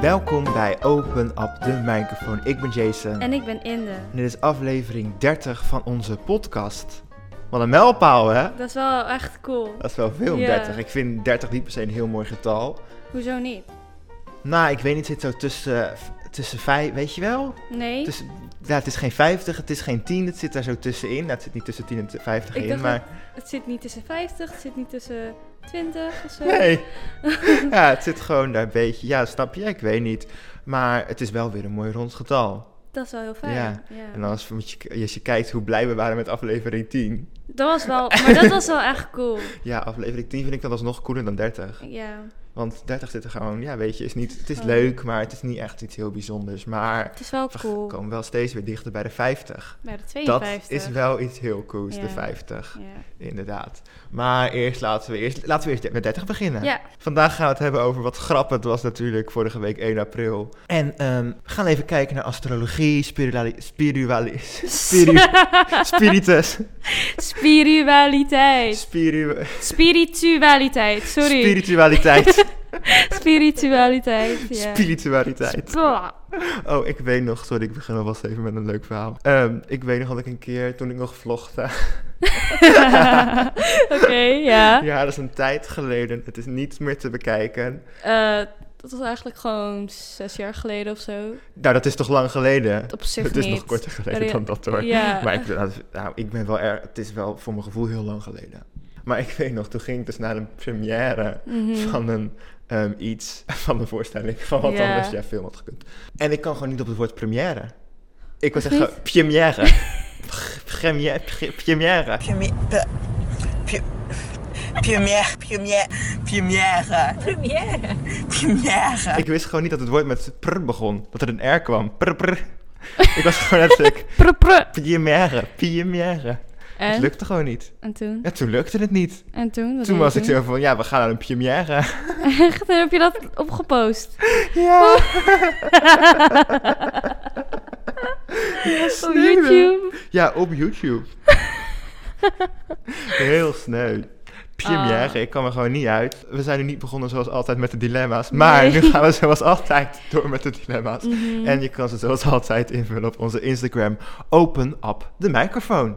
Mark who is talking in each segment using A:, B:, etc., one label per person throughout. A: Welkom bij Open Up de microfoon. Ik ben Jason.
B: En ik ben Inde.
A: En dit is aflevering 30 van onze podcast. Wat een mijlpaal, hè?
B: Dat is wel echt cool.
A: Dat is wel veel,
B: Ja.
A: 30. Ik vind 30 niet per se een heel mooi getal.
B: Hoezo niet?
A: Nou, ik weet niet, het zit zo tussen, tussen vijf, weet je wel?
B: Nee.
A: Tussen, ja, het is geen 50, het is geen 10, het zit daar zo tussenin. Nou, het zit niet tussen 10 en 50
B: Ik
A: in,
B: dacht
A: maar...
B: Het zit niet tussen 50, het zit niet tussen 20 of zo.
A: Nee. ja, het zit gewoon daar een beetje... Ja, snap je? Ik weet niet. Maar het is wel weer een mooi rond getal.
B: Dat is wel heel fijn.
A: Ja.
B: Ja.
A: En als, moet je, als je kijkt hoe blij we waren met aflevering 10.
B: Dat was wel, maar dat was wel echt cool.
A: Ja, aflevering 10 vind ik dat alsnog cooler dan 30.
B: Ja.
A: Want 30 zit er gewoon, ja, weet je, is niet, het is
B: Oh.
A: leuk, maar het is niet echt iets heel bijzonders. Maar
B: Het is wel
A: we
B: cool.
A: komen wel steeds weer dichter bij de 50.
B: Bij de
A: Dat
B: 52.
A: is wel iets heel cools, de
B: Ja.
A: 50,
B: Ja.
A: inderdaad. Maar eerst laten we eerst, laten we eerst met 30 beginnen.
B: ja.
A: Vandaag gaan we het hebben over wat grappig. Het was natuurlijk vorige week 1 april. En ehm, we gaan even kijken naar astrologie, spirituali- spirituali- spiru- spiritus,
B: Spiritualiteit.
A: spiru-
B: Spiritualiteit. Sorry.
A: spiritualiteit,
B: Spiritualiteit. Ja.
A: spiritualiteit.
B: Blah.
A: Oh, ik weet nog, sorry, ik begin alvast even met een leuk verhaal. Ehm, ik weet nog dat ik een keer, toen ik nog vlogde,
B: Oké, ja.
A: ja, dat is een tijd geleden, het is niet meer te bekijken.
B: Eh, dat was eigenlijk gewoon zes jaar geleden of zo.
A: Nou, dat is toch lang geleden?
B: Op zich
A: Het
B: niet.
A: is nog korter geleden
B: Ja.
A: dan dat hoor.
B: Ja.
A: Maar ik, nou, nou, ik ben wel er, het is wel voor mijn gevoel heel lang geleden. Maar ik weet nog, toen ging ik dus naar een première
B: Mhm.
A: van een ehm, iets, van een voorstelling, van wat
B: Ja.
A: anders jij film had gekund. En ik kan gewoon niet op het woord première. Ik was
B: Of
A: echt
B: niet?
A: gewoon première. Première. Première.
C: Premier. pe- pu- Première. Première. Première. Première. Première.
A: Ik wist gewoon niet dat het woord met pr begon. Dat er een R kwam. Pr, pr. Ik was gewoon net ik.
B: Prr, prr.
A: Première. Première. Het
B: En?
A: lukte gewoon niet.
B: en toen?
A: Ja, toen lukte het niet.
B: En toen? Wat
A: Toen
B: deed
A: was
B: je
A: ik zo van, ja, we gaan naar een première.
B: Echt? En heb je dat opgepost?
A: Ja.
B: Op
A: sneu, hè?
B: YouTube?
A: Ja, op YouTube. Heel sneu. Première,
B: Ah.
A: ik kan er gewoon niet uit. We zijn nu niet begonnen zoals altijd met de dilemma's. Maar
B: Nee.
A: nu gaan we zoals altijd door met de dilemma's.
B: Mhm.
A: En je kan ze zoals altijd invullen op onze Instagram. Open up de microfoon.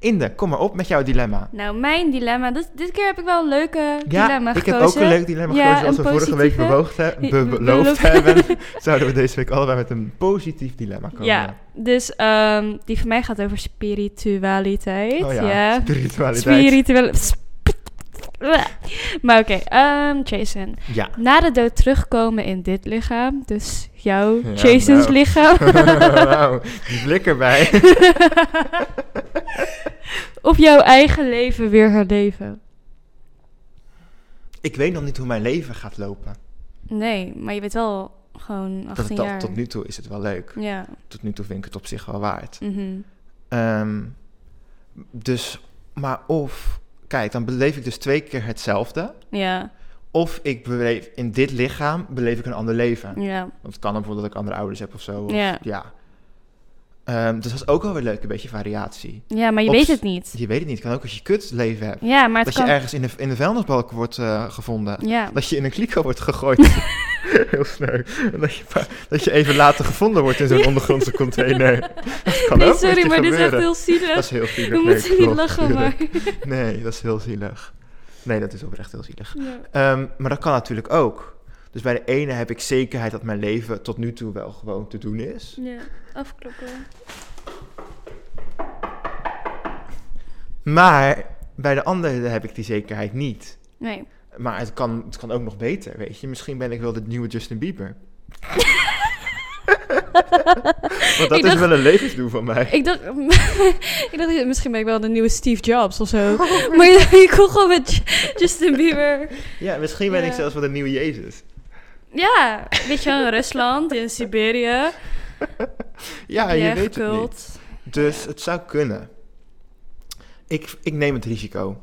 A: Inde, kom maar op met jouw dilemma.
B: Nou, mijn dilemma. Dit, dit keer heb ik wel een leuke
A: Ja,
B: dilemma
A: ik
B: gekozen.
A: heb ook een leuk dilemma
B: Ja,
A: gekozen. Als we
B: een
A: vorige week
B: positieve.
A: bewoogd he- be-
B: Be-
A: beloofd
B: beloofd.
A: hebben, zouden we deze week allebei met een positief dilemma komen.
B: Ja, dus ehm, die van mij gaat over spiritualiteit.
A: Oh ja,
B: ja.
A: spiritualiteit.
B: Spirituele... Maar oké, ehm, Jason.
A: ja.
B: Na de dood terugkomen in dit lichaam, dus jouw,
A: Ja,
B: Jason's
A: nou.
B: lichaam.
A: Wauw, die blik erbij.
B: of jouw eigen leven weer herleven.
A: Ik weet nog niet hoe mijn leven gaat lopen.
B: Nee, maar je bent wel gewoon 18
A: Dat het
B: jaar.
A: al, tot nu toe is het wel leuk.
B: Ja.
A: Tot nu toe vind ik het op zich wel waard.
B: mhm.
A: Ehm, dus, maar of... Kijk, dan beleef ik dus twee keer hetzelfde.
B: Ja,
A: Of ik beleef in dit lichaam beleef ik een ander leven.
B: ja,
A: Want het kan dan bijvoorbeeld dat ik andere ouders heb of zo. Of,
B: Ja.
A: Ehm, dus dat is ook wel weer leuk, een beetje variatie.
B: ja, maar je
A: Op
B: weet
A: s-
B: het niet.
A: Je weet het niet, het kan ook als je kut leven hebt.
B: Ja, maar het
A: dat je
B: kan...
A: ergens in de, in de vuilnisbalk wordt eh, gevonden.
B: Ja,
A: Dat je in een kliko wordt gegooid. Heel sneu. En Dat je, pa- dat je even later gevonden wordt in zo'n ondergrondse container. Dat kan
B: nee,
A: ook met
B: sorry,
A: je
B: maar dit is echt
A: gebeuren.
B: heel zielig.
A: Dat is heel zielig.
B: We
A: nee,
B: moeten niet
A: klopt,
B: lachen,
A: tuurlijk.
B: maar...
A: Nee, dat is heel zielig. Nee, dat is oprecht heel zielig.
B: Ja.
A: Ehm, maar dat kan natuurlijk ook. Dus bij de ene heb ik zekerheid dat mijn leven tot nu toe wel gewoon te doen is.
B: ja, afkloppen.
A: Maar bij de andere heb ik die zekerheid niet.
B: Nee.
A: Maar het kan, het kan ook nog beter, weet je. Misschien ben ik wel de nieuwe Justin Bieber. Want dat
B: Ik
A: is
B: dacht-
A: wel een levensdoel van mij.
B: Ik dacht, ik dacht, misschien ben ik wel de nieuwe Steve Jobs of zo. maar je, je kon gewoon met J- Justin Bieber.
A: Ja, misschien ben ik
B: Ja.
A: zelfs wel de nieuwe Jezus.
B: Ja, weet je wel, in Rusland, in Siberië.
A: Ja, je weet
B: Ja,
A: het niet.
B: gekult.
A: Dus het zou kunnen. Ik, ik neem het risico.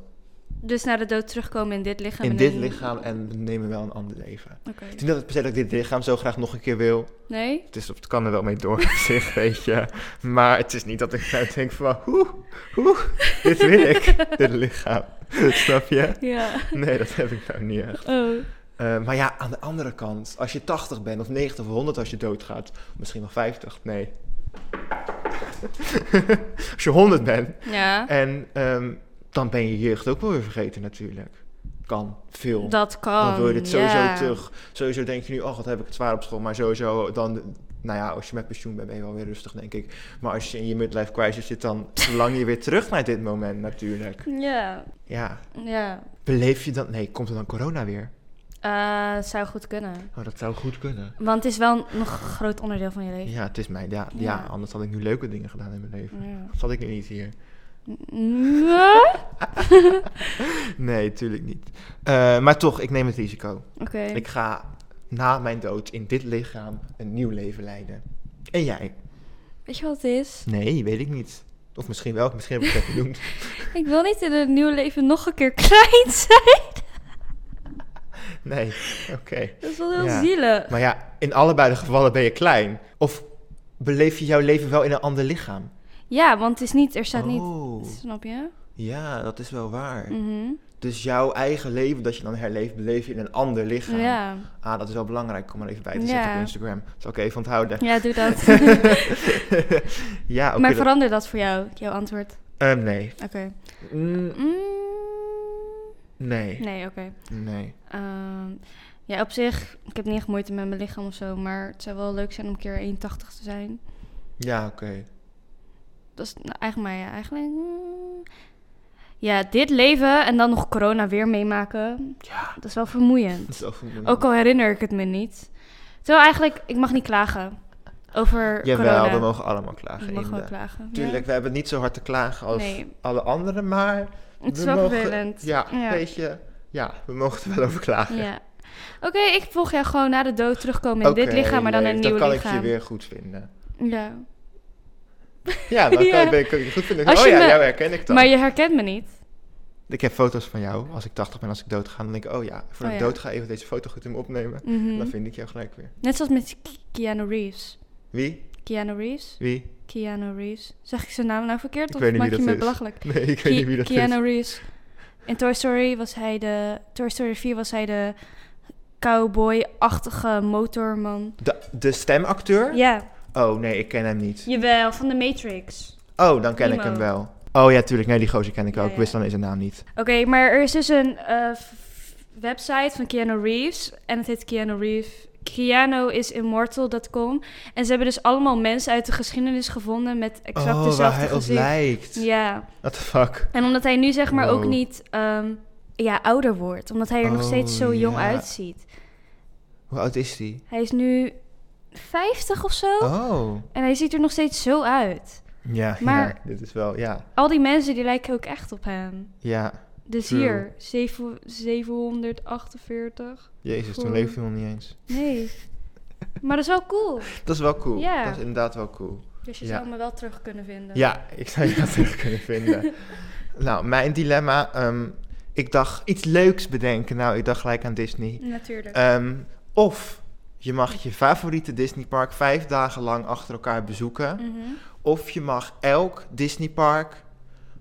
B: Dus naar de dood terugkomen in dit lichaam.
A: In
B: en
A: dit
B: dan-
A: lichaam en we nemen wel een ander leven.
B: Oké.
A: Het is niet dat het per se dat ik dit lichaam zo graag nog een keer wil.
B: Nee?
A: Het, is, het kan er wel mee door op zich, weet je. Maar het is niet dat ik nou denk van... Hoe, hoe, dit wil ik, dit lichaam. Snap je?
B: Ja.
A: Nee, dat heb ik nou niet echt.
B: Oh.
A: Eh, maar ja, aan de andere kant, als je 80 bent of 90 of 100 als je doodgaat, misschien nog 50, nee. als je 100 bent,
B: Ja,
A: En ehm, dan ben je jeugd ook wel weer vergeten natuurlijk. Kan, veel.
B: dat kan.
A: dan wil je dit sowieso
B: ja.
A: terug. Sowieso denk je nu, oh wat heb ik het zwaar op school. Maar sowieso dan, nou ja, als je met pensioen bent ben je wel weer rustig denk ik. Maar als je in je midlife crisis zit, dan lang je weer terug naar dit moment natuurlijk.
B: Ja,
A: Ja,
B: ja.
A: beleef je dan, nee, komt er dan corona weer?
B: Eh, zou goed kunnen.
A: Oh, dat zou goed kunnen.
B: Want het is wel nog een groot onderdeel van je leven.
A: Ja, het is mij, ja, ja.
B: Ja.
A: anders had ik nu leuke dingen gedaan in mijn leven.
B: Ja.
A: Dat had ik nu niet hier.
B: Nee?
A: Nee, tuurlijk niet. Eh, maar toch, ik neem het risico.
B: Oké.
A: Ik ga na mijn dood in dit lichaam een nieuw leven leiden. En jij?
B: Weet je wat het is?
A: Nee, weet ik niet. Of misschien wel, misschien heb ik het even genoemd.
B: Ik wil niet in het nieuwe leven nog een keer klein zijn.
A: Nee, oké.
B: Dat is wel heel
A: Ja.
B: zielig.
A: Maar ja, in allebei de gevallen ben je klein. Of beleef je jouw leven wel in een ander lichaam?
B: Ja, want het is niet, er staat niet.
A: Oh,
B: Snap je?
A: ja, dat is wel waar.
B: Mhm.
A: Dus jouw eigen leven dat je dan herleeft, beleef je in een ander lichaam.
B: Ja.
A: Ah, dat is wel belangrijk. Kom maar even bij te
B: Ja.
A: zetten op Instagram. Dat zal ik even onthouden.
B: ja, doe dat.
A: ja, oké.
B: maar
A: dat-
B: verander dat voor jou, jouw antwoord.
A: Ehm, nee.
B: Oké.
A: Mm,
B: Mm,
A: nee.
B: nee, oké.
A: Nee.
B: Ehm, ja, op zich, ik heb niet echt moeite met mijn lichaam of zo, maar het zou wel leuk zijn om een keer 1,80 te zijn.
A: Ja, oké.
B: Dat is nou, eigenlijk maar ja, eigenlijk. mm. Ja, dit leven en dan nog corona weer meemaken,
A: Ja.
B: dat is wel vermoeiend.
A: Dat is wel vermoeiend.
B: Ook al herinner ik het me niet. Terwijl eigenlijk, ik mag niet klagen over
A: Jawel,
B: corona.
A: we mogen allemaal klagen.
B: ik mag wel
A: inderdaad.
B: klagen.
A: Tuurlijk, we hebben niet zo hard te klagen als
B: Nee.
A: alle anderen, maar...
B: Ja, het is
A: we
B: wel
A: mogen-
B: vervelend.
A: Ja,
B: Ja.
A: weet je... Ja, we mogen er wel over klagen.
B: Ja. Oké, ik volg jou gewoon na de dood terugkomen in dit
A: Oké,
B: lichaam, maar dan
A: leuk.
B: een nieuw
A: Dan kan
B: lichaam.
A: ik je weer goed vinden.
B: Ja.
A: Ja, dan
B: Ja.
A: Kan, ben ik, kan ik je goed vinden.
B: Als
A: oh
B: je
A: ja,
B: me-
A: jou herken ik dan.
B: Maar je herkent me niet.
A: Ik heb foto's van jou. Als ik 80 ben, als ik dood ga, dan denk ik... Oh ja, voor
B: Oh
A: ik
B: ja.
A: dood ga, even deze foto goed in me opnemen.
B: Mhm.
A: Dan vind ik jou gelijk weer.
B: Net zoals met Ke- Keanu Reeves.
A: Wie?
B: Keanu Reeves?
A: Wie?
B: Keanu Reeves. Zeg ik zijn naam nou verkeerd
A: Ik
B: of
A: weet niet
B: maak
A: wie
B: je
A: dat
B: me
A: is.
B: belachelijk?
A: Nee, ik weet
B: Ke-
A: niet wie dat
B: Keanu Reeves. In Toy Story was hij de... Toy Story 4 was hij de cowboy-achtige motorman.
A: is. De, de stemacteur?
B: Ja,
A: Oh nee, ik ken hem niet.
B: jawel, van de Matrix.
A: Oh, dan ken ik
B: Nemo.
A: hem wel. Oh ja, tuurlijk. Nee, die gozer ken ik
B: Ja,
A: ook.
B: ja.
A: Ik wist dan eens zijn naam niet.
B: Oké, maar er is dus een eh, f- website van Keanu Reeves. En het heet Keanu Reeves. Keanuisimmortal.com. En ze hebben dus allemaal mensen uit de geschiedenis gevonden met exact
A: oh, waar
B: dezelfde
A: hij op
B: gezicht.
A: lijkt.
B: Ja,
A: What the fuck?
B: en omdat hij nu zeg maar ook
A: Wow.
B: niet ehm, ja, ouder wordt. Omdat hij er nog
A: Oh,
B: steeds zo jong
A: ja.
B: uitziet.
A: Hoe oud is die?
B: Hij is nu 50 of zo.
A: Oh.
B: En hij ziet er nog steeds zo uit.
A: Ja,
B: Maar-
A: ja, dit is wel... Ja,
B: Al die mensen die lijken ook echt op hem.
A: ja.
B: Dus
A: True.
B: hier, zeven- 748.
A: Jezus, toen
B: Cool.
A: leefde hij nog niet eens.
B: Nee. maar dat is wel cool.
A: Dat is wel cool.
B: Ja.
A: Dat is inderdaad wel cool.
B: Dus je
A: Ja.
B: zou me wel terug kunnen vinden.
A: Ja, ik zou je dat terug kunnen vinden. Nou, mijn dilemma. ehm, ik dacht iets leuks bedenken. Nou, ik dacht gelijk aan Disney.
B: Natuurlijk.
A: Ehm, of je mag je favoriete Disneypark vijf dagen lang achter elkaar bezoeken.
B: Mhm.
A: Of je mag elk Disneypark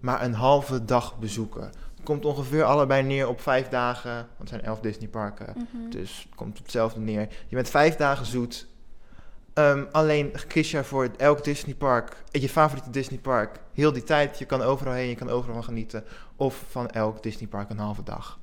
A: maar een halve dag bezoeken. Het komt ongeveer allebei neer op vijf dagen. Want het zijn elf Disneyparken.
B: Mhm.
A: Dus het komt op hetzelfde neer. Je bent vijf dagen zoet. Ehm, alleen kies je voor elk Disneypark, je favoriete Disneypark, heel die tijd. Je kan overal heen, je kan overal van genieten. Of van elk Disneypark een halve dag.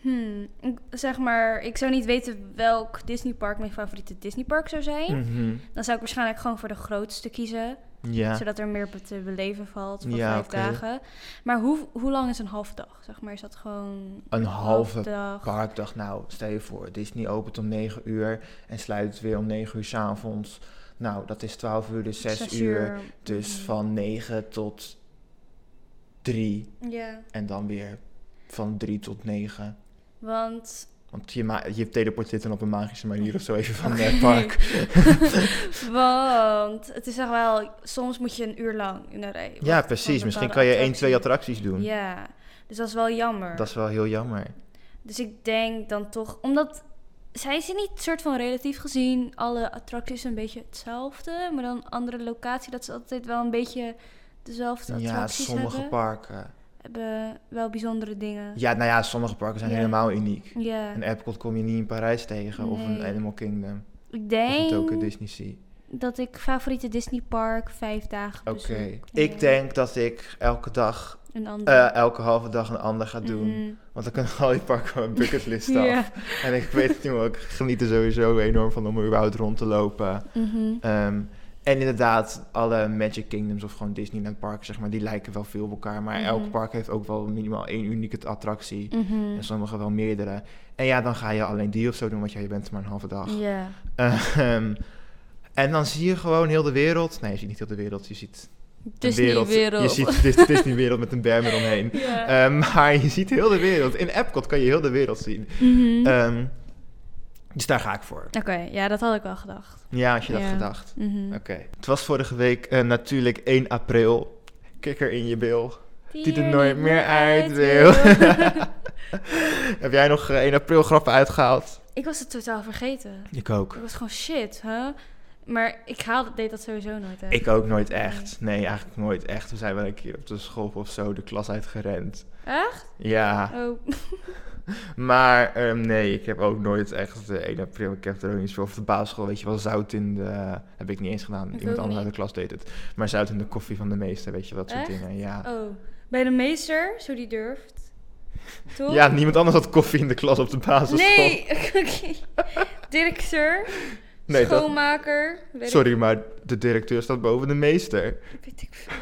B: Hmm, ik- Zeg maar, ik zou niet weten welk Disneypark mijn favoriete Disneypark zou zijn.
A: Mhm.
B: Dan zou ik waarschijnlijk gewoon voor de grootste kiezen.
A: Ja.
B: Zodat er meer te beleven valt voor
A: Ja,
B: vijf
A: oké.
B: dagen. Maar hoe, hoe lang is een halve dag? Zeg maar, is dat gewoon...
A: Een halve
B: dag.
A: parkdag. Nou, stel je voor, Disney opent om 9 uur en sluit weer om 9 uur s'avonds. Nou, dat is 12 uur, dus 6
B: Zes
A: uur. Dus
B: Mhm.
A: van 9 tot 3
B: Ja,
A: en dan weer van 3 tot 9.
B: want...
A: Want je, ma- je teleporteert dan op een magische manier of zo even van
B: Oké.
A: het park.
B: want het is echt wel... Soms moet je een uur lang in de rij. wachten
A: Ja,
B: voor
A: precies.
B: een
A: Misschien
B: bepaalde
A: kan je 1,
B: attractie.
A: 2 attracties doen.
B: Ja, dus dat is wel jammer.
A: Dat is wel heel jammer.
B: Dus ik denk dan toch, omdat zijn ze niet soort van relatief gezien alle attracties een beetje hetzelfde, maar dan een andere locatie dat ze altijd wel een beetje dezelfde
A: ja,
B: attracties
A: sommige
B: hebben.
A: parken.
B: hebben wel bijzondere dingen.
A: Ja, nou ja, sommige parken zijn
B: Ja.
A: helemaal uniek.
B: Ja,
A: Een Epcot kom je niet in Parijs tegen, of een
B: Nee.
A: Animal Kingdom,
B: ik
A: of een
B: denk
A: Tokyo Disney Sea.
B: dat ik favoriete Disneypark vijf dagen
A: Oké,
B: bezoek. Ja.
A: ik denk dat ik elke dag,
B: Een ander.
A: eh, elke halve dag een ander ga doen.
B: Mhm.
A: Want dan kunnen al die parken van mijn bucketlist af.
B: Ja.
A: En ik weet het nu ook, ik geniet er sowieso enorm van om überhaupt rond te lopen.
B: Mhm.
A: Ehm, en inderdaad, alle Magic Kingdoms of gewoon Disneyland parken, zeg maar, die lijken wel veel op elkaar. Maar
B: Mhm.
A: elk park heeft ook wel minimaal één unieke attractie.
B: Mhm.
A: En sommige wel meerdere. En ja, dan ga je alleen die of zo doen, want ja, je bent maar een halve dag.
B: Ja.
A: Ehm, en dan zie je gewoon heel de wereld. Nee, je ziet niet heel de wereld, je ziet de wereld.
B: Disney-wereld.
A: Je ziet de Disney-wereld met een berm eromheen.
B: Ja.
A: Ehm, maar je ziet heel de wereld. In Epcot kan je heel de wereld zien.
B: Mhm.
A: Ehm, dus daar ga ik voor.
B: Oké, ja, dat had ik wel gedacht.
A: Ja, als je dat
B: Ja.
A: gedacht.
B: Mhm.
A: Oké. Het was vorige week eh, natuurlijk 1 april. Kikker in je bil, die er nooit meer uit wil. Heb jij nog eh, 1 april grappen uitgehaald?
B: ik was het totaal vergeten.
A: Ik ook.
B: Ik was gewoon shit, hè? Maar ik haalde, deed dat sowieso nooit uit.
A: Ik ook nooit echt. Nee, eigenlijk nooit echt. We zijn wel een keer op de school of zo de klas uitgerend.
B: Echt?
A: Ja,
B: Oh.
A: maar ehm, nee, ik heb ook nooit echt de 1 april. Ik heb er ook niet voor. Of de basisschool, weet je wel, zout in de... Heb ik niet eens gedaan. Iemand
B: ook
A: anders uit
B: niet.
A: de klas deed het. Maar zout in de koffie van de meester, weet je, dat soort
B: Echt?
A: dingen. Ja.
B: oh. Bij de meester, zo die durft. Toch?
A: ja, niemand anders had koffie in de klas op de basisschool.
B: Oh, Nee, oké. Directeur,
A: Nee, dat-
B: schoonmaker. weet ik-
A: Sorry, maar de directeur staat boven de meester.
B: weet ik veel.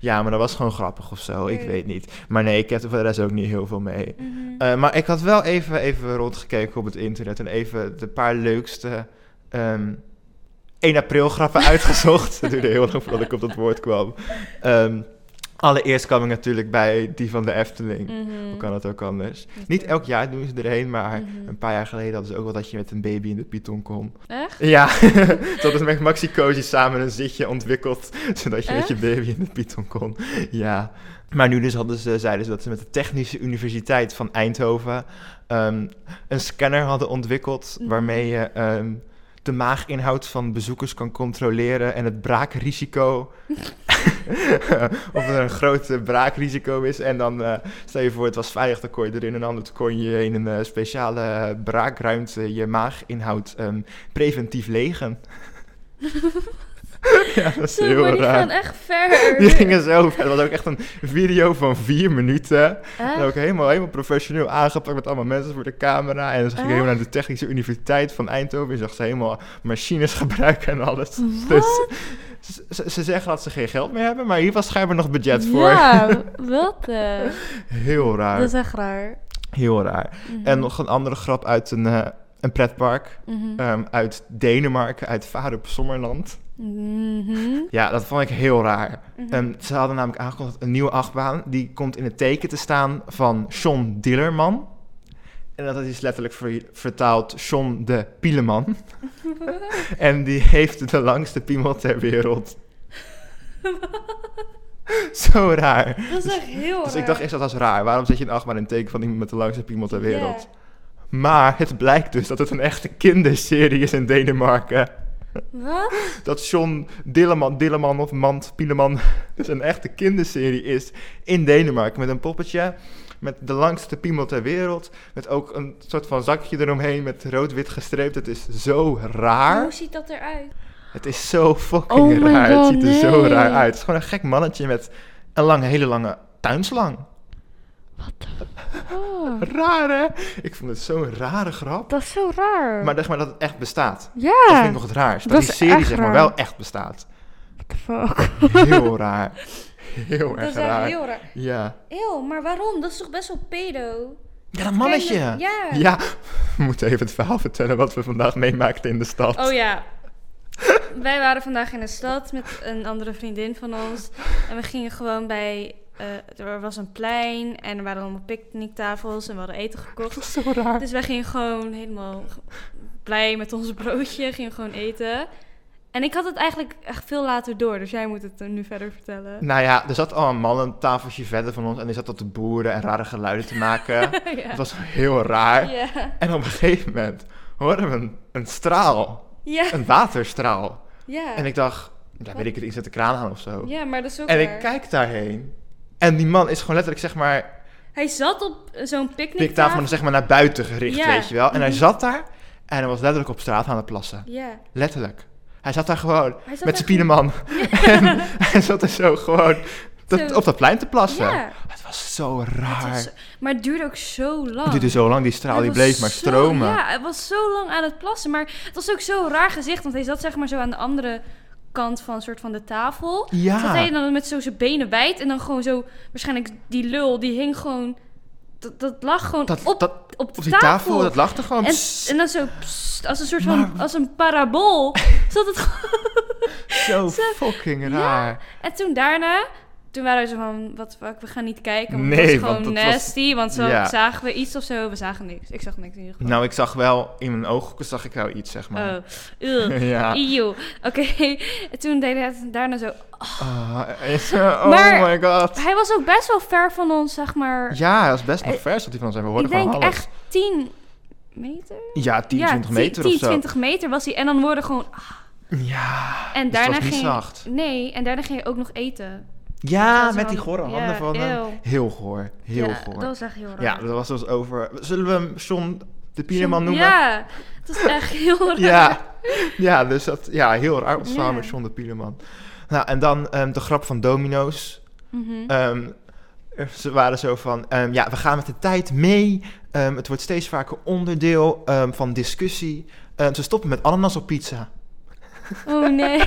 A: Ja, maar dat was gewoon grappig of zo. Ik
B: Mm.
A: weet niet. Maar nee, ik heb er voor de rest ook niet heel veel mee.
B: Mhm.
A: Eh, maar ik had wel even, even rondgekeken op het internet en even de paar leukste ehm 1 april grappen uitgezocht. Het duurde heel lang voordat ik op dat woord kwam. Ehm, allereerst kwam ik natuurlijk bij die van de Efteling.
B: Mhm.
A: Hoe kan dat ook anders? Mm. Niet
B: Natuurlijk.
A: elk jaar doen Mm. ze erheen, maar
B: Mhm.
A: een paar jaar geleden hadden ze ook wel dat je met een baby in de Python kon.
B: Echt?
A: Ja, dat is met Maxi Cozy samen een zitje ontwikkeld, zodat je met je baby in de Python kon. Ja, maar nu dus hadden ze, zeiden ze dat ze met de Technische Universiteit van Eindhoven ehm, een scanner hadden ontwikkeld
B: Mhm.
A: waarmee je ehm, de maaginhoud van bezoekers kan controleren en het braakrisico. of er een groot eh, braakrisico is. En dan eh, stel je voor, het was veilig, dan kon je erin en anders kon je in een eh, speciale eh, braakruimte je maaginhoud ehm, preventief legen. ja, dat is
B: Zo,
A: heel
B: maar die
A: raar.
B: gaan echt ver.
A: Die gingen zo ver. Dat was ook echt een video van vier minuten.
B: Echt?
A: En ook helemaal, helemaal professioneel aangepakt met allemaal mensen voor de camera. En ze gingen
B: Echt?
A: helemaal naar de Technische Universiteit van Eindhoven. Je zag ze helemaal machines gebruiken en alles.
B: Wat?
A: Dus ze- ze, ze zeggen dat ze geen geld meer hebben, maar hier was schijnbaar nog budget voor.
B: Ja, wat? eh?
A: Heel raar.
B: Dat is echt raar.
A: Heel raar.
B: Mhm.
A: En nog een andere grap uit een, eh, een pretpark.
B: Mhm.
A: ehm, uit Denemarken, uit Varup Sommerland.
B: Mhm.
A: Ja, dat vond ik heel raar.
B: Mhm.
A: Ehm, ze hadden namelijk aangekondigd een nieuwe achtbaan. Die komt in het teken te staan van John Dillerman. En dat is letterlijk ver- vertaald John de Pieleman. en die heeft de langste piemel ter wereld. Zo raar.
B: Dat is echt heel raar.
A: Dus ik dacht eerst dat was raar. Waarom zet je een achtbaan in het teken van iemand met de langste piemel ter wereld?
B: Ja.
A: Maar het blijkt dus dat het een echte kinderserie is in Denemarken.
B: Wat?
A: dat John Dilleman, Dilleman of Mand Pieleman dus een echte kinderserie is in Denemarken. Met een poppetje, met de langste piemel ter wereld. Met ook een soort van zakje eromheen met rood-wit gestreept. Het is zo raar.
B: Hoe ziet dat eruit?
A: Het is zo fucking
B: Oh my
A: raar.
B: God,
A: het ziet er zo
B: nee.
A: raar uit. Het is gewoon een gek mannetje met een lange, hele lange tuinslang.
B: Wat de fuck?
A: Raar hè? Ik vond het zo'n rare grap.
B: Oh, Dat is zo raar.
A: Maar zeg maar dat het echt bestaat.
B: ja.
A: Dat vind ik nog het raarst. Dat,
B: dat
A: die
B: is
A: serie
B: echt
A: zeg maar
B: raar.
A: wel echt bestaat.
B: What the fuck?
A: Heel raar. Heel
B: Dat
A: erg
B: is echt
A: Oh, raar.
B: heel raar.
A: Ja.
B: Eeuw, maar waarom? Dat is toch best wel pedo?
A: Ja, dat mannetje.
B: Kleine- Ja.
A: Ja, we moeten even het verhaal vertellen wat we vandaag meemaakten in de stad.
B: Oh ja. Wij waren vandaag in de stad met een andere vriendin van ons. En we gingen gewoon bij... eh, er was een plein en er waren allemaal picknicktafels en we hadden eten gekocht.
A: Dat is zo raar.
B: Dus wij gingen gewoon helemaal g- blij met ons broodje, gingen gewoon eten. En ik had het eigenlijk echt veel later door, dus jij moet het eh, nu verder vertellen.
A: Nou ja, er zat al een man een tafeltje verder van ons en die zat op te boeren en rare geluiden te maken.
B: ja.
A: Het was heel raar.
B: Ja.
A: En op een gegeven moment hoorden we een, een straal,
B: Ja.
A: een waterstraal.
B: Ja.
A: En ik dacht, daar weet ik het, iets uit de kraan aan of zo.
B: ja, maar dat is ook
A: En ik
B: raar.
A: kijk daarheen En die man is gewoon letterlijk, zeg maar,
B: Hij zat op zo'n
A: piktafel,
B: picknicktafel.
A: maar zeg maar naar buiten gericht,
B: Ja.
A: weet je wel. En hij
B: Mhm.
A: zat daar en hij was letterlijk op straat aan het plassen.
B: Ja.
A: Letterlijk. Hij zat daar gewoon
B: Hij zat
A: met
B: echt-
A: zijn pieneman. En hij zat er zo gewoon dat-
B: Zo.
A: op dat plein te plassen.
B: Ja.
A: Het was zo
B: Het
A: raar.
B: was zo- maar het duurde ook zo lang.
A: Het duurde zo lang, die straal
B: Hij
A: Nou, die
B: was
A: bleef maar
B: zo-
A: stromen.
B: Ja, hij was zo lang aan het plassen. Maar het was ook zo'n raar gezicht. Want hij zat zeg maar zo aan de andere kant van een soort van de tafel.
A: Ja.
B: Zat hij dan met zo zijn benen wijd. En dan gewoon zo... Waarschijnlijk die lul, die hing gewoon... Dat, dat lag gewoon
A: Dat-
B: op,
A: dat-
B: op de
A: Op die tafel, dat lag er gewoon.
B: En,
A: Psst,
B: en dan zo... pssst, als een soort van... Als een parabool. zat het gewoon...
A: zo
B: ze-
A: fucking
B: Ja.
A: raar.
B: En toen daarna, toen waren ze van, wat fuck, we gaan niet kijken. Want
A: Nee,
B: het was
A: want
B: gewoon
A: dat was-
B: nasty, want zo
A: Ja.
B: zagen we iets of zo. We zagen niks. Ik zag niks in ieder geval.
A: Nou, ik zag wel in mijn ooghoeken zag ik wel iets, zeg maar.
B: Oh, ugh.
A: ja.
B: Eeuw. Oké, En toen deed hij het daarna zo.
A: Ah, eh, oh
B: Maar-
A: my god.
B: Hij was ook best wel ver van ons, zeg maar.
A: Ja, hij was best nog
B: Eh,
A: ver, zat hij van zijn. We
B: ik
A: hoorden
B: denk
A: van alles.
B: echt 10 meter?
A: Ja, 10, 20
B: 10
A: meter
B: 10,
A: of zo.
B: 20 meter was hij. En dan worden gewoon...
A: Ja.
B: En
A: Dus het
B: daarna
A: was niet
B: ging...
A: zacht.
B: Nee, en daarna ging je ook nog eten.
A: Ja,
B: Dat was
A: met die
B: wel-
A: gore
B: ja,
A: handen van hem.
B: eeuw.
A: Heel goor, heel
B: ja,
A: goor.
B: Dat was echt heel raar.
A: Ja, dat was dus over... Zullen we hem John de Pieneman noemen?
B: Ja, het was echt heel raar.
A: ja. Ja, dus dat... Ja, heel raar ontstaan
B: Ja.
A: met John de Pieneman. Nou, en dan ehm, de grap van domino's.
B: Mhm.
A: Ehm, er- ze waren zo van, ehm, ja, we gaan met de tijd mee. Ehm, het wordt steeds vaker onderdeel ehm, van discussie. Ehm, ze stoppen met ananas op pizza.
B: Oh nee.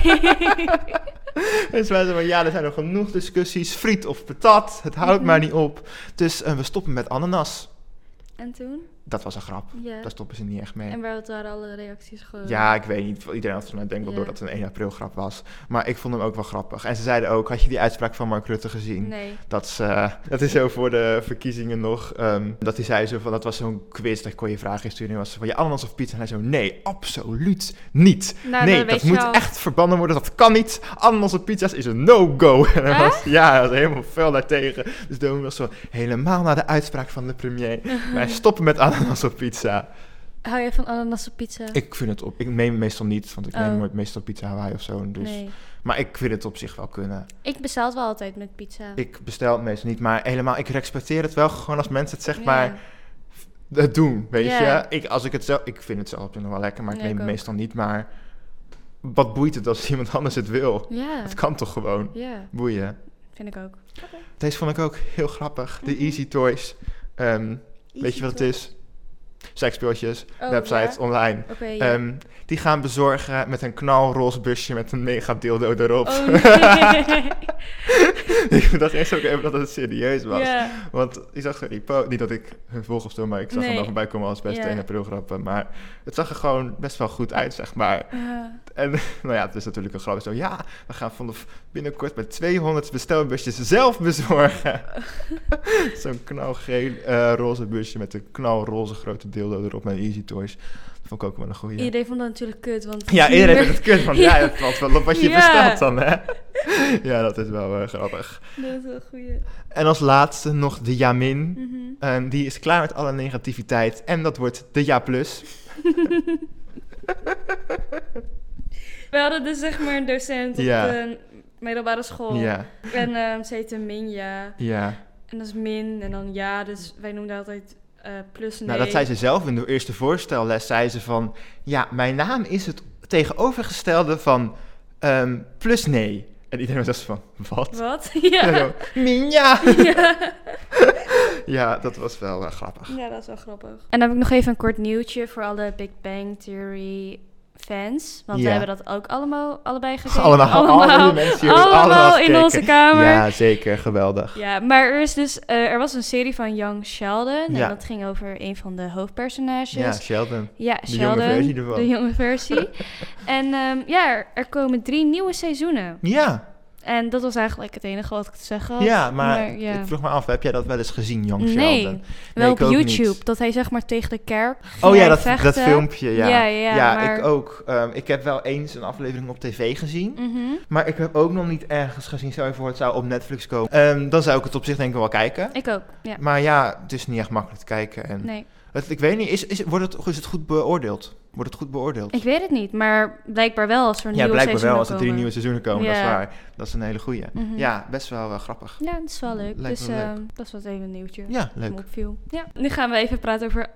A: Dus wij zeiden van, ja, er zijn nog genoeg discussies. Friet of patat, het
B: Mhm.
A: houdt maar niet op. Dus eh, we stoppen met ananas.
B: En toen?
A: Dat was een grap.
B: Ja.
A: Daar stoppen ze niet echt mee.
B: En waar waren alle reacties gewoon?
A: Ja, ik weet niet. Iedereen had vanuit denk wel
B: Ja.
A: door dat het een 1 april grap was. Maar ik vond hem ook wel grappig. En ze zeiden ook, had je die uitspraak van Mark Rutte gezien?
B: Nee.
A: Dat, is, eh, dat is zo voor de verkiezingen nog. ehm, dat hij zei zo van, dat was zo'n quiz, daar kon je vragen insturen. En was ze van, ja, ananas of pizza? En hij zo, nee, absoluut niet.
B: Nou,
A: nee,
B: dan
A: dat
B: weet je
A: moet
B: al.
A: echt verbannen worden, dat kan niet. Ananas of pizza's is een no-go. En hij was, ja, hij was helemaal fel daartegen. Dus Domi was zo, helemaal naar de uitspraak van de premier. Wij stoppen met ananas op pizza.
B: Hou jij van ananas op pizza?
A: Ik vind het op, ik neem meestal niet, want ik neem
B: Oh.
A: nooit meestal pizza Hawaii of zo. Dus.
B: Nee. Oh.
A: Maar ik vind het op zich wel kunnen.
B: Ik bestel het wel altijd met pizza.
A: Ik bestel het meestal niet, maar helemaal, ik respecteer het wel gewoon als mensen het zeg
B: Ja.
A: maar het doen, weet
B: Ja.
A: je. Ik, als ik het zelf, ik vind het zelf op zich nog wel lekker, maar ik
B: Ja,
A: neem
B: ik
A: het
B: ook.
A: meestal niet. Maar wat boeit het als iemand anders het wil?
B: Ja.
A: Het kan toch gewoon?
B: Ja,
A: Boeien.
B: vind ik ook.
A: Deze vond ik ook heel grappig. De
B: Mhm.
A: Easy Toys. Ehm, weet je wat het is? Seksspeeltjes,
B: Oh,
A: websites,
B: ja?
A: online.
B: Oké, ja.
A: Ehm, die gaan bezorgen met een knalroze busje met een mega dildo erop.
B: Oh, nee.
A: ik dacht eerst ook even dat het serieus was.
B: ja.
A: Want ik zag zo die po- Niet dat ik hun volg of zo, maar ik zag hem
B: Nee.
A: wel voorbij komen als beste
B: Ja.
A: 1 april grappen. Maar het zag er gewoon best wel goed uit, zeg maar.
B: Eh,
A: En nou ja, het is natuurlijk een grap. Zo, ja, we gaan vanaf binnenkort met 200 bestelbusjes zelf bezorgen. Zo'n knalgeel eh, roze busje met een knalroze grote dildo erop met Easy Toys. Dat vond ik ook wel een goeie.
B: Iedereen vond dat natuurlijk kut, want...
A: Ja, iedereen heeft het kut van, ja, het valt wel op wat je
B: Ja.
A: bestelt dan, hè. Ja, dat is wel eh, grappig.
B: Dat is wel een goeie.
A: En als laatste nog de Jamin.
B: Mhm.
A: Ehm, die is klaar met alle negativiteit en dat wordt de ja plus.
B: We hadden dus zeg maar een docent op
A: Ja.
B: de middelbare school.
A: Ja,
B: En ehm ze heette Minja.
A: ja.
B: En dat is min en dan ja, dus wij noemden altijd eh, plus nee.
A: Nou, dat zei ze zelf in de eerste voorstelles. Zei ze van, ja, mijn naam is het tegenovergestelde van ehm, plus nee. En iedereen was echt van, wat?
B: Wat?
A: En
B: ja.
A: zo, Minja!
B: ja.
A: Ja, dat was wel eh, grappig.
B: Ja, dat is wel grappig. En dan heb ik nog even een kort nieuwtje voor alle Big Bang Theory fans. Want
A: Ja.
B: we hebben dat ook allemaal, allebei gekeken.
A: Allemaal, alle mensen hier,
B: allemaal
A: allemaal
B: in
A: gekeken.
B: onze kamer. Ja.
A: Ja, zeker. Geweldig.
B: maar er, is dus, eh, er was een serie van Young Sheldon.
A: Ja.
B: En dat ging over een van de
A: Ja,
B: hoofdpersonages.
A: Sheldon.
B: Ja,
A: De jonge
B: Sheldon.
A: versie ervan.
B: De jonge versie. en ehm, ja, er, er komen drie nieuwe seizoenen.
A: Ja,
B: En dat was eigenlijk het enige wat ik te zeggen had.
A: ja maar,
B: ja.
A: ik vroeg me af, heb jij dat wel eens gezien, Young
B: Nee,
A: Sheldon?
B: wel op
A: ik ook niet.
B: YouTube. Dat hij zeg maar tegen de kerk
A: Oh ja,
B: gaat
A: dat, dat
B: vechten.
A: filmpje, ja.
B: Ja, ja, maar-
A: ik ook. Ehm, ik heb wel eens een aflevering op tv gezien.
B: Mhm.
A: Maar ik heb ook nog niet ergens gezien, stel je voor het zou op Netflix komen. Ehm, dan zou ik het op zich denk ik wel kijken.
B: Ik ook, ja.
A: Maar ja, het is niet echt makkelijk te kijken. En
B: Nee.
A: het, ik weet niet, is, is, wordt het, is het goed beoordeeld? Wordt het goed beoordeeld?
B: Ik weet het niet, maar blijkbaar wel als er een
A: ja,
B: nieuwe
A: blijkbaar wel.
B: seizoenen
A: Als er drie
B: komen.
A: nieuwe seizoenen komen, dat is
B: Ja.
A: waar. Dat is een hele goeie.
B: Mhm.
A: Ja, best wel eh, grappig.
B: Ja, dat is wel leuk.
A: Lijkt
B: dus
A: me
B: eh,
A: leuk.
B: dat was even een nieuwtje.
A: Ja,
B: dat
A: leuk.
B: me opviel. Ja. Nu gaan we even praten over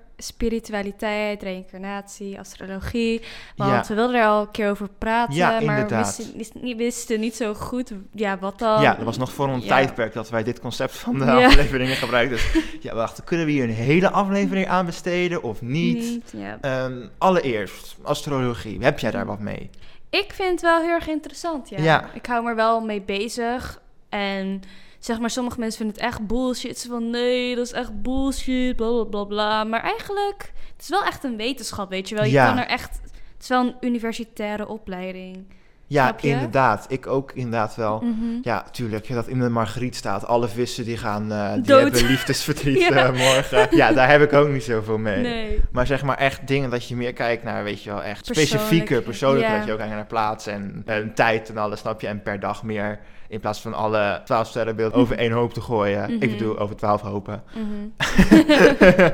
B: spiritualiteit, reïncarnatie, astrologie. Want
A: Ja.
B: we wilden er al een keer over praten,
A: Ja,
B: maar we
A: inderdaad.
B: wisten, wisten niet- wisten niet zo goed ja, wat dan.
A: ja, dat was nog voor een
B: ehm, ja.
A: tijdperk dat wij dit concept van de
B: Ja.
A: afleveringen gebruikten. dus Ja, wacht, kunnen we hier een hele aflevering aan besteden of niet?
B: ja.
A: Ehm, allereerst, astrologie. Heb jij daar wat mee?
B: Ik vind het wel heel erg interessant, ja.
A: Ja.
B: Ik hou me er wel mee bezig. En zeg maar, sommige mensen vinden het echt bullshit. Ze van, nee, dat is echt bullshit, bla bla bla bla. Maar eigenlijk, het is wel echt een wetenschap, weet je wel. Je
A: Ja.
B: kan er echt... Het is wel een universitaire opleiding.
A: Ja,
B: Snap je?
A: inderdaad. Ik ook inderdaad wel.
B: Mhm.
A: Ja, tuurlijk. Ja, dat in de margriet staat. Alle vissen die gaan, eh, die
B: Dood.
A: hebben liefdesverdriet
B: Ja.
A: eh, morgen. Ja, daar heb ik ook niet zoveel mee.
B: Nee.
A: Maar zeg maar echt dingen dat je meer kijkt naar, weet je wel, echt specifieke,
B: Persoonlijk,
A: persoonlijke,
B: ja.
A: dat je ook kijkt naar plaats en eh, tijd en alles, snap je? En per dag meer, in plaats van alle twaalf sterrenbeelden over één hoop te gooien.
B: Mhm.
A: Ik bedoel, over twaalf hopen.
B: Mhm.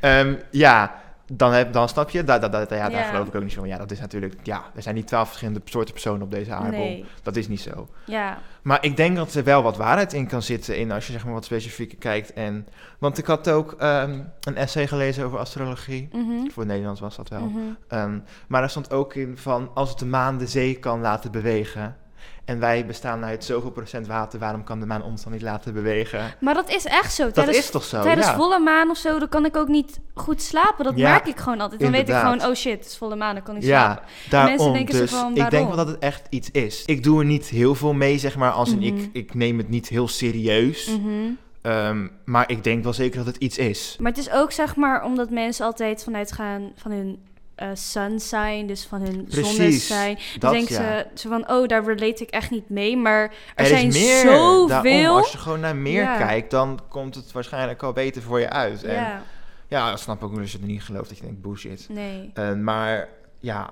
A: Ehm, ja, dan, heb, dan snap je, da, da, da, da- ja, daar
B: Ja.
A: geloof ik ook niet zo van. Ja, dat is natuurlijk, ja, er zijn niet twaalf verschillende soorten personen op deze aardbol.
B: Nee.
A: Dat is niet zo.
B: Ja.
A: Maar ik denk dat er wel wat waarheid in kan zitten in als je zeg maar wat specifieker kijkt. En, want ik had ook ehm, een essay gelezen over astrologie.
B: Mhm.
A: Voor Nederlands was dat wel.
B: Mhm.
A: Ehm, maar daar stond ook in van als het de maan de zee kan laten bewegen. En wij bestaan uit zoveel procent water, waarom kan de maan ons dan niet laten bewegen?
B: Maar dat is echt zo.
A: Dat
B: Tijdens,
A: is toch zo?
B: tijdens
A: ja.
B: volle maan of zo, dan kan ik ook niet goed slapen. Dat
A: Ja,
B: merk ik gewoon altijd. Dan weet ik
A: inderdaad.
B: gewoon, oh shit, het is volle maan, dan kan ik slapen.
A: Ja, daarom
B: denken ze
A: dus.
B: van,
A: ik denk
B: waarom?
A: wel dat het echt iets is. Ik doe er niet heel veel mee, zeg maar, als in
B: Mhm.
A: ik, ik neem het niet heel serieus.
B: Mhm.
A: Ehm, maar ik denk wel zeker dat het iets is.
B: Maar het is ook zeg maar omdat mensen altijd vanuit gaan van hun eh, sun sign, dus van hun
A: Precies,
B: zonnesign. Dan
A: Dat,
B: denken
A: ja.
B: ze zo van, oh, daar relate ik echt niet mee. Maar er,
A: is
B: zijn
A: meer Daarom,
B: zoveel.
A: als je gewoon naar meer
B: Ja.
A: kijkt, dan komt het waarschijnlijk al beter voor je uit. En
B: Ja,
A: ja, dat snap ik ook als je het niet gelooft dat je denkt bullshit.
B: nee.
A: Eh, maar ja,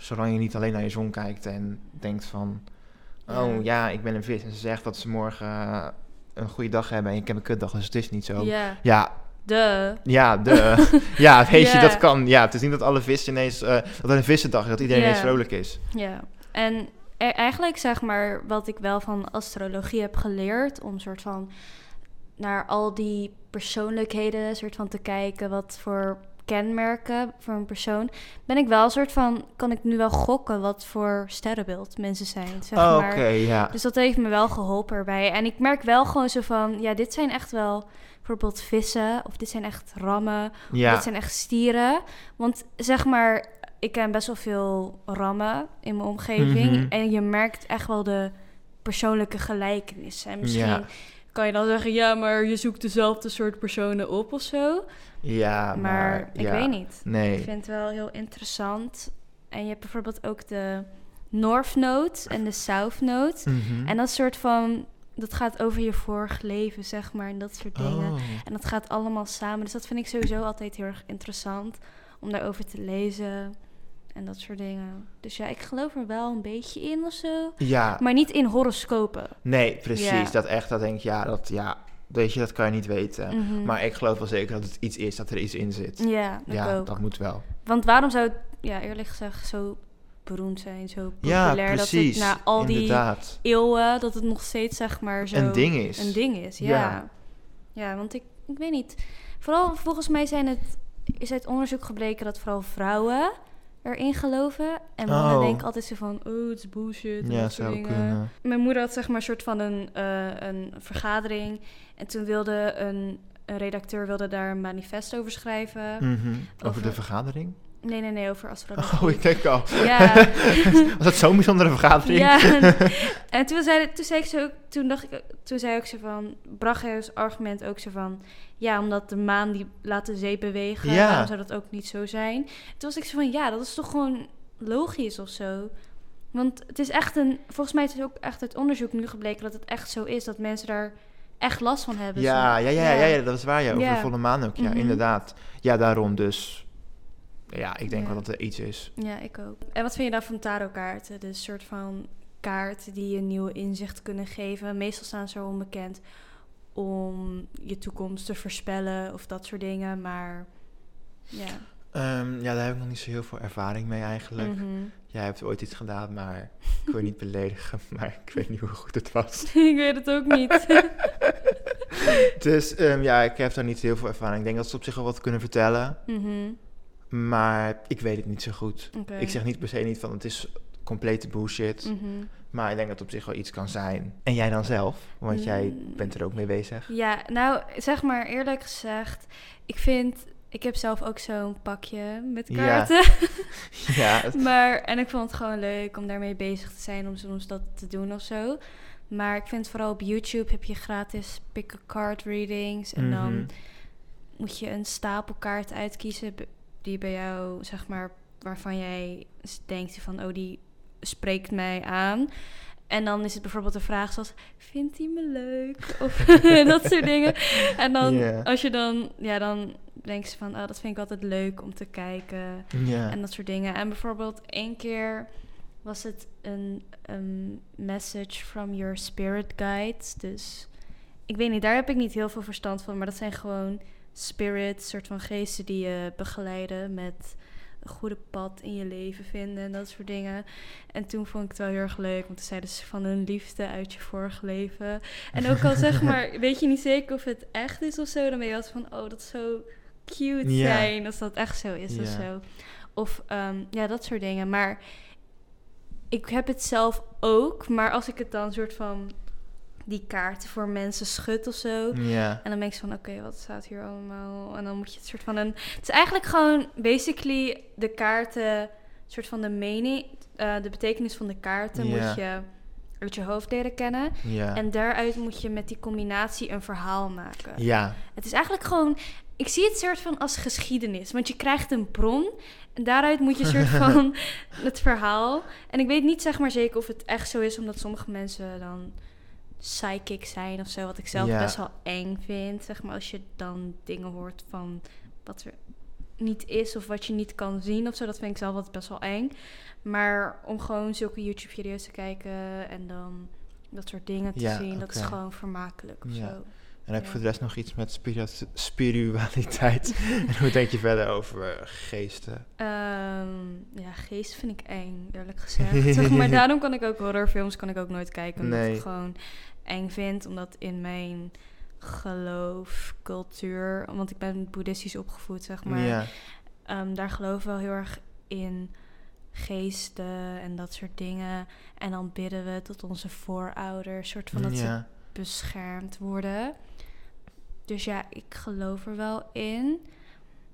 A: zolang je niet alleen naar je zon kijkt en denkt van...
B: Ja.
A: Oh ja, ik ben een vis en ze zegt dat ze morgen eh, een goede dag hebben en ik heb een kutdag, dus het is niet zo.
B: Ja,
A: Ja,
B: de.
A: ja, de, ja, weet
B: Ja.
A: je, dat kan. Ja, het is niet dat alle vissen ineens, eh, dat er een vissendag is, dat iedereen
B: Ja.
A: ineens vrolijk is.
B: Ja. En e- eigenlijk zeg maar wat ik wel van astrologie heb geleerd, om soort van naar al die persoonlijkheden soort van te kijken, wat voor kenmerken voor een persoon, ben ik wel soort van, kan ik nu wel gokken wat voor sterrenbeeld mensen zijn, zeg
A: Oh, Oké,
B: maar.
A: ja.
B: Dus dat heeft me wel geholpen erbij. En ik merk wel gewoon zo van, ja, dit zijn echt wel bijvoorbeeld vissen, of dit zijn echt rammen,
A: Ja,
B: dat zijn echt stieren. Want zeg maar, ik ken best wel veel rammen in mijn omgeving.
A: Mhm.
B: En je merkt echt wel de persoonlijke gelijkenissen. En misschien
A: Ja.
B: kan je dan zeggen, ja, maar je zoekt dezelfde soort personen op of zo.
A: ja,
B: maar ik
A: ja.
B: weet niet. Ik
A: Nee,
B: vind het wel heel interessant. En je hebt bijvoorbeeld ook de North Note en de South Note.
A: Mhm.
B: En dat soort van, dat gaat over je vorig leven, zeg maar, en dat soort dingen.
A: Oh.
B: En dat gaat allemaal samen. Dus dat vind ik sowieso altijd heel erg interessant om daarover te lezen en dat soort dingen. Dus ja, ik geloof er wel een beetje in of zo.
A: Ja,
B: Maar niet in horoscopen.
A: nee, precies.
B: Ja.
A: Dat echt, dat denk ik, ja, dat, ja, weet je, dat kan je niet weten.
B: Mhm.
A: Maar ik geloof wel zeker dat het iets is, dat er iets in zit.
B: ja, ik
A: Ja,
B: ook.
A: dat moet wel.
B: Want waarom zou het, ja, eerlijk gezegd, zo beroemd zijn, zo
A: Ja,
B: populair
A: precies.
B: dat het na al die
A: Inderdaad.
B: eeuwen, dat het nog steeds, zeg maar, zo
A: Een ding is.
B: een ding is. Ja, ja.
A: Ja.
B: want ik, ik weet niet. Vooral volgens mij zijn het, is uit onderzoek gebleken dat vooral vrouwen erin geloven. En mannen
A: Oh.
B: denken altijd zo van, oh, het is bullshit. en
A: Ja,
B: dat soort
A: zou
B: dingen.
A: kunnen.
B: Mijn moeder had zeg maar een soort van een, eh, een vergadering. En toen wilde een, een redacteur wilde daar een manifest over schrijven.
A: Mhm. Over de
B: Over-
A: vergadering?
B: Nee, nee, nee, over astrologie.
A: Oh, ik denk al.
B: Ja.
A: Was dat zo'n bijzondere vergadering?
B: Ja, en, en toen, zei, toen zei ik zo, toen dacht ik, toen zei ik zo van, bracht hij als argument ook zo van, ja, omdat de maan die laat de zee bewegen,
A: Ja.
B: waarom zou dat ook niet zo zijn? Toen was ik zo van, ja, dat is toch gewoon logisch of zo? Want het is echt een, volgens mij is het ook echt uit onderzoek nu gebleken dat het echt zo is, dat mensen daar echt last van hebben.
A: Ja,
B: Zo.
A: ja, ja, ja, ja, dat is waar. Ja. Over
B: Ja.
A: de volle maan ook, ja,
B: Mhm.
A: inderdaad. Ja, daarom dus. Ja, ik denk
B: Ja.
A: wel dat er iets is.
B: Ja, ik ook. En wat vind je dan van tarotkaarten? Dus soort van kaarten die je nieuw inzicht kunnen geven. Meestal staan ze erom bekend om je toekomst te voorspellen of dat soort dingen. Maar ja,
A: Ehm, ja, daar heb ik nog niet zo heel veel ervaring mee eigenlijk.
B: Mhm.
A: Jij hebt ooit iets gedaan, maar ik wil je niet beledigen, maar ik weet niet hoe goed het was.
B: ik weet het ook niet.
A: Dus ehm, ja, ik heb daar niet heel veel ervaring. Ik denk dat ze op zich wel wat kunnen vertellen,
B: Mhm.
A: maar ik weet het niet zo goed.
B: Oké.
A: Ik zeg niet per se niet van het is complete bullshit,
B: Mhm.
A: maar ik denk dat het op zich wel iets kan zijn. En jij dan zelf, want jij
B: Mm.
A: bent er ook mee bezig.
B: Ja, nou zeg maar eerlijk gezegd, ik vind, ik heb zelf ook zo'n pakje met
A: Ja.
B: kaarten.
A: ja, het-
B: Maar, en ik vond het gewoon leuk om daarmee bezig te zijn, om soms dat te doen of zo. Maar ik vind vooral op YouTube heb je gratis pick a card readings. En
A: Mhm.
B: dan moet je een stapel kaart uitkiezen b- die bij jou, zeg maar, waarvan jij s- denkt van, oh, die spreekt mij aan. En dan is het bijvoorbeeld een vraag zoals, vindt hij me leuk? Of dat soort dingen. En dan,
A: Ja.
B: als je dan, ja, dan denk ze van, oh, dat vind ik altijd leuk om te kijken.
A: Mhm. ja.
B: En dat soort dingen. En bijvoorbeeld één keer was het een, een message from your spirit guides. Dus ik weet niet, daar heb ik niet heel veel verstand van. Maar dat zijn gewoon spirits, soort van geesten die je begeleiden met een goede pad in je leven vinden en dat soort dingen. En toen vond ik het wel heel erg leuk, want toen zeiden ze van hun liefde uit je vorige leven. En ook al zeg maar, weet je niet zeker of het echt is of zo, dan ben je altijd van, oh, dat is zo cute
A: Ja.
B: zijn als dat echt zo is of
A: Ja.
B: zo. Of ehm, ja, dat soort dingen. Maar ik heb het zelf ook, maar als ik het dan soort van die kaarten voor mensen schud of zo,
A: ja.
B: en dan denk ik zo van, oké, wat staat hier allemaal? En dan moet je het soort van een... Het is eigenlijk gewoon basically de kaarten, soort van de mening, eh, de betekenis van de kaarten
A: Ja.
B: moet je uit je hoofd leren kennen.
A: Ja.
B: En daaruit moet je met die combinatie een verhaal maken.
A: ja.
B: Het is eigenlijk gewoon... Ik zie het soort van als geschiedenis. Want je krijgt een bron. En daaruit moet je soort van het verhaal. En ik weet niet zeg maar zeker of het echt zo is. Omdat sommige mensen dan psychic zijn of zo. Wat ik zelf
A: Ja.
B: best wel eng vind. Zeg maar als je dan dingen hoort van wat er niet is. Of wat je niet kan zien of zo. Dat vind ik zelf altijd best wel eng. Maar om gewoon zulke YouTube video's te kijken. En dan dat soort dingen te
A: Ja,
B: zien. Dat is
A: oké.
B: gewoon vermakelijk of
A: Ja.
B: zo.
A: En heb je
B: Ja.
A: voor de rest nog iets met spirit- spiritualiteit? en hoe denk je verder over eh, geesten?
B: Ehm, ja, geest vind ik eng, eerlijk gezegd. zeg maar daarom kan ik ook horrorfilms kan ik ook nooit kijken. Omdat ik
A: Nee.
B: het gewoon eng vind. Omdat in mijn geloof, cultuur... Want ik ben boeddhistisch opgevoed, zeg maar.
A: ja.
B: ehm, daar geloof ik wel heel erg in geesten en dat soort dingen. En dan bidden we tot onze voorouders. soort van dat ze
A: ja.
B: beschermd worden. Dus ja, ik geloof er wel in.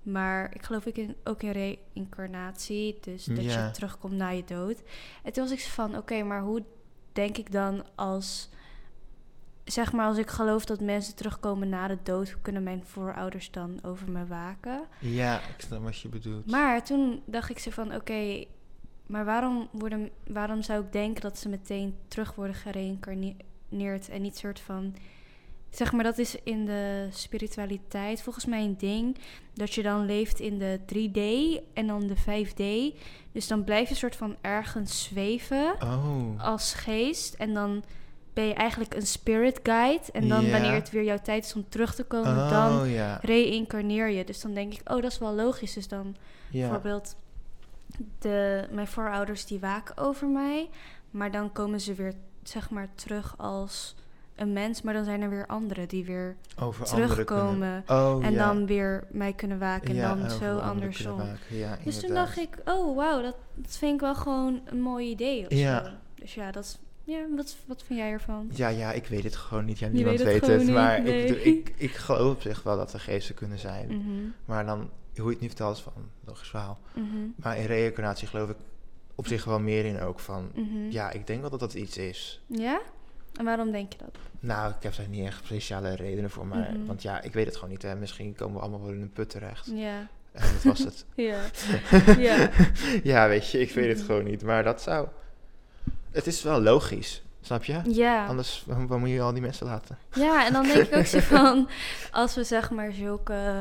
B: Maar ik geloof ook in, ook in reïncarnatie. Dus dat
A: Ja.
B: je terugkomt na je dood. En toen was ik zo van, oké, maar hoe denk ik dan als... Zeg maar, als ik geloof dat mensen terugkomen na de dood... hoe kunnen mijn voorouders dan over me waken?
A: ja, ik snap wat je bedoelt.
B: Maar toen dacht ik ze van, oké, maar waarom, worden, waarom zou ik denken dat ze meteen terug worden gereïncarneerd en niet soort van, zeg maar, dat is in de spiritualiteit volgens mij een ding dat je dan leeft in de 3D en dan de 5D, dus dan blijf je soort van ergens zweven
A: oh.
B: als geest en dan ben je eigenlijk een spirit guide en dan
A: Ja.
B: wanneer het weer jouw tijd is om terug te komen,
A: oh,
B: dan
A: ja.
B: reïncarneer je. Dus dan denk ik, oh, dat is wel logisch, dus dan
A: ja.
B: Bijvoorbeeld, de, mijn voorouders die waken over mij, maar dan komen ze weer zeg maar terug als een mens, maar dan zijn er weer anderen die weer
A: Over anderen kunnen-
B: terugkomen
A: Oh,
B: en
A: ja.
B: dan weer mij kunnen waken en
A: Ja,
B: dan
A: over
B: zo
A: anderen
B: andersom.
A: kunnen maken, Ja,
B: Dus toen
A: inderdaad.
B: dacht ik, oh wauw, dat, dat vind ik wel gewoon een mooi idee of
A: Ja.
B: zo. Dus ja, dat is, ja wat, wat vind jij ervan?
A: Ja, ja, ik weet het gewoon niet. Ja,
B: Je
A: niemand
B: weet het
A: weet het.
B: gewoon niet,
A: maar
B: nee.
A: ik, bedoel, ik, ik geloof op zich wel dat er geesten kunnen zijn.
B: Mhm,
A: Maar dan, hoe je het nu vertelt, is van logisch verhaal.
B: mhm,
A: Maar in reïncarnatie geloof ik op zich wel meer in ook van...
B: mhm.
A: Ja, ik denk wel dat dat iets is.
B: Ja? En waarom denk je dat?
A: Nou, ik heb daar niet echt speciale redenen voor, maar...
B: Mhm.
A: Want ja, ik weet het gewoon niet, hè. Misschien komen we allemaal wel in een put terecht.
B: Ja,
A: En dat was het.
B: ja, ja.
A: ja, weet je, ik weet het
B: Mhm.
A: gewoon niet. Maar dat zou... Het is wel logisch, snap je?
B: ja.
A: Anders, wa- waarom moet je al die mensen laten?
B: Ja, en dan denk ik ook zo van, als we zeg maar zulke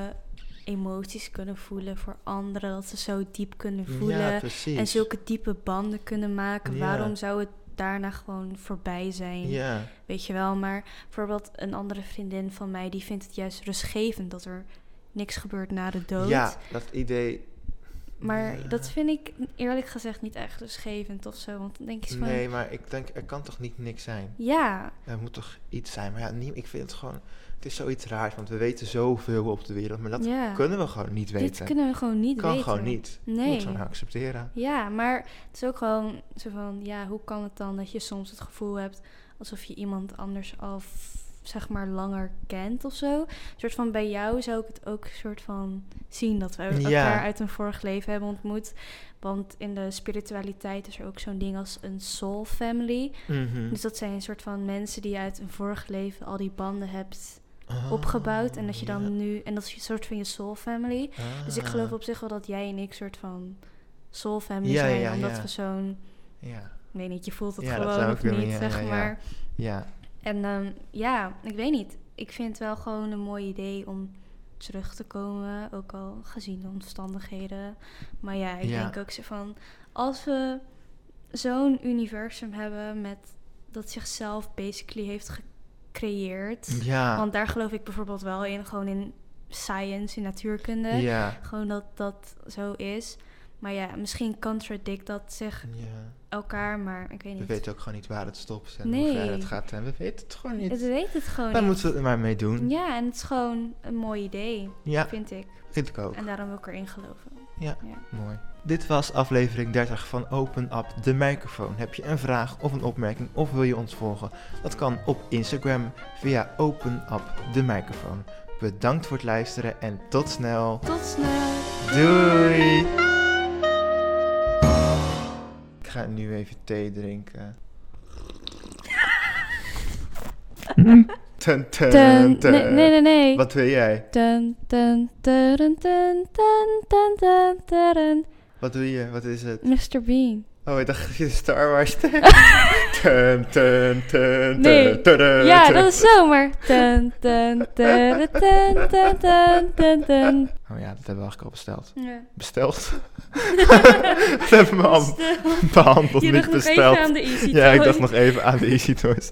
B: emoties kunnen voelen voor anderen, dat ze zo diep kunnen voelen
A: Ja, precies.
B: en zulke diepe banden kunnen maken,
A: Ja.
B: waarom zou het daarna gewoon voorbij zijn?
A: Ja,
B: Weet je wel, maar bijvoorbeeld een andere vriendin van mij, die vindt het juist rustgevend dat er niks gebeurt na de dood.
A: ja dat idee
B: Maar
A: Ja.
B: dat vind ik eerlijk gezegd niet echt rustgevend of zo. Want dan denk je zo van...
A: Nee, maar ik denk, er kan toch niet niks zijn?
B: Ja,
A: Er moet toch iets zijn? Maar ja, nie- ik vind het gewoon... Het is zoiets raars, want we weten zoveel op de wereld. Maar dat
B: ja.
A: kunnen we gewoon niet
B: dit
A: weten.
B: kunnen we gewoon niet
A: kan
B: weten.
A: gewoon niet. Je
B: Nee.
A: moet gewoon accepteren.
B: Ja, maar het is ook gewoon zo van... Ja, hoe kan het dan dat je soms het gevoel hebt... alsof je iemand anders al, f- zeg maar, langer kent of zo? Een soort van bij jou zou ik het ook soort van zien... dat we elkaar
A: Ja.
B: uit een vorig leven hebben ontmoet. Want in de spiritualiteit is er ook zo'n ding als een soul family...
A: Mhm.
B: Dus dat zijn een soort van mensen die je uit een vorig leven al die banden hebt
A: Ah,
B: opgebouwd. En dat je dan
A: ja.
B: nu. En dat is een soort van je soul family. Dus ik geloof
A: Ah,
B: op zich wel dat jij en ik soort van soul family
A: Ja,
B: zijn.
A: ja,
B: omdat
A: ja.
B: we zo'n.
A: Ja,
B: Ik weet niet, je voelt het
A: Ja, dat
B: gewoon
A: zou
B: of
A: kunnen,
B: niet,
A: ja,
B: zeg
A: ja, ja.
B: maar.
A: ja.
B: En ehm, ja, ik weet niet. Ik vind het wel gewoon een mooi idee om terug te komen. Ook al gezien de omstandigheden. Maar ja, ik
A: Ja.
B: denk ook zo van... Als we zo'n universum hebben met... Dat zichzelf basically heeft gecreëerd.
A: Ja.
B: Want daar geloof ik bijvoorbeeld wel in. Gewoon in science, in natuurkunde.
A: ja.
B: Gewoon dat dat zo is. Maar ja, misschien contradict dat zich
A: ja.
B: elkaar, maar ik weet
A: We
B: niet.
A: weten ook gewoon niet waar het stopt en
B: Nee.
A: hoe ver het gaat. En we weten het gewoon niet.
B: Het weet het gewoon
A: Daar
B: niet.
A: moeten we het maar mee doen.
B: Ja, en het is gewoon een mooi idee,
A: Ja,
B: vind ik.
A: vind ik ook.
B: En daarom wil ik erin geloven.
A: Ja.
B: ja.
A: Mooi. Dit was aflevering 30 van Open Up de microfoon. Heb je een vraag of een opmerking of wil je ons volgen? Dat kan op Instagram via Open Up de microfoon. Bedankt voor het luisteren en tot snel.
B: Tot snel!
A: Doei! Ik ga nu even thee drinken. Ten, ten,
B: Dun,
A: ten.
B: nee, nee, nee, nee.
A: Wat wil jij?
B: Dun, dun, dun, dun, dun, dun, dun, dun.
A: Wat doe je? Wat is het?
B: Mr. Bean.
A: Oh, ik dacht dat je de Star Wars thee. Ten, ten, ten,
B: Nee.
A: ten, ten,
B: Ja,
A: ten.
B: dat is zomer. Dun, dun, dun, dun, dun, dun, dun, dun.
A: Oh ja, dat hebben we eigenlijk al besteld.
B: Ja.
A: Besteld? dat hebben we al
B: Stil.
A: behandeld,
B: Je
A: niet
B: dacht nog even
A: besteld.
B: aan de E easy
A: Ja, ik dacht nog
B: toys.
A: even aan de Easy Toys.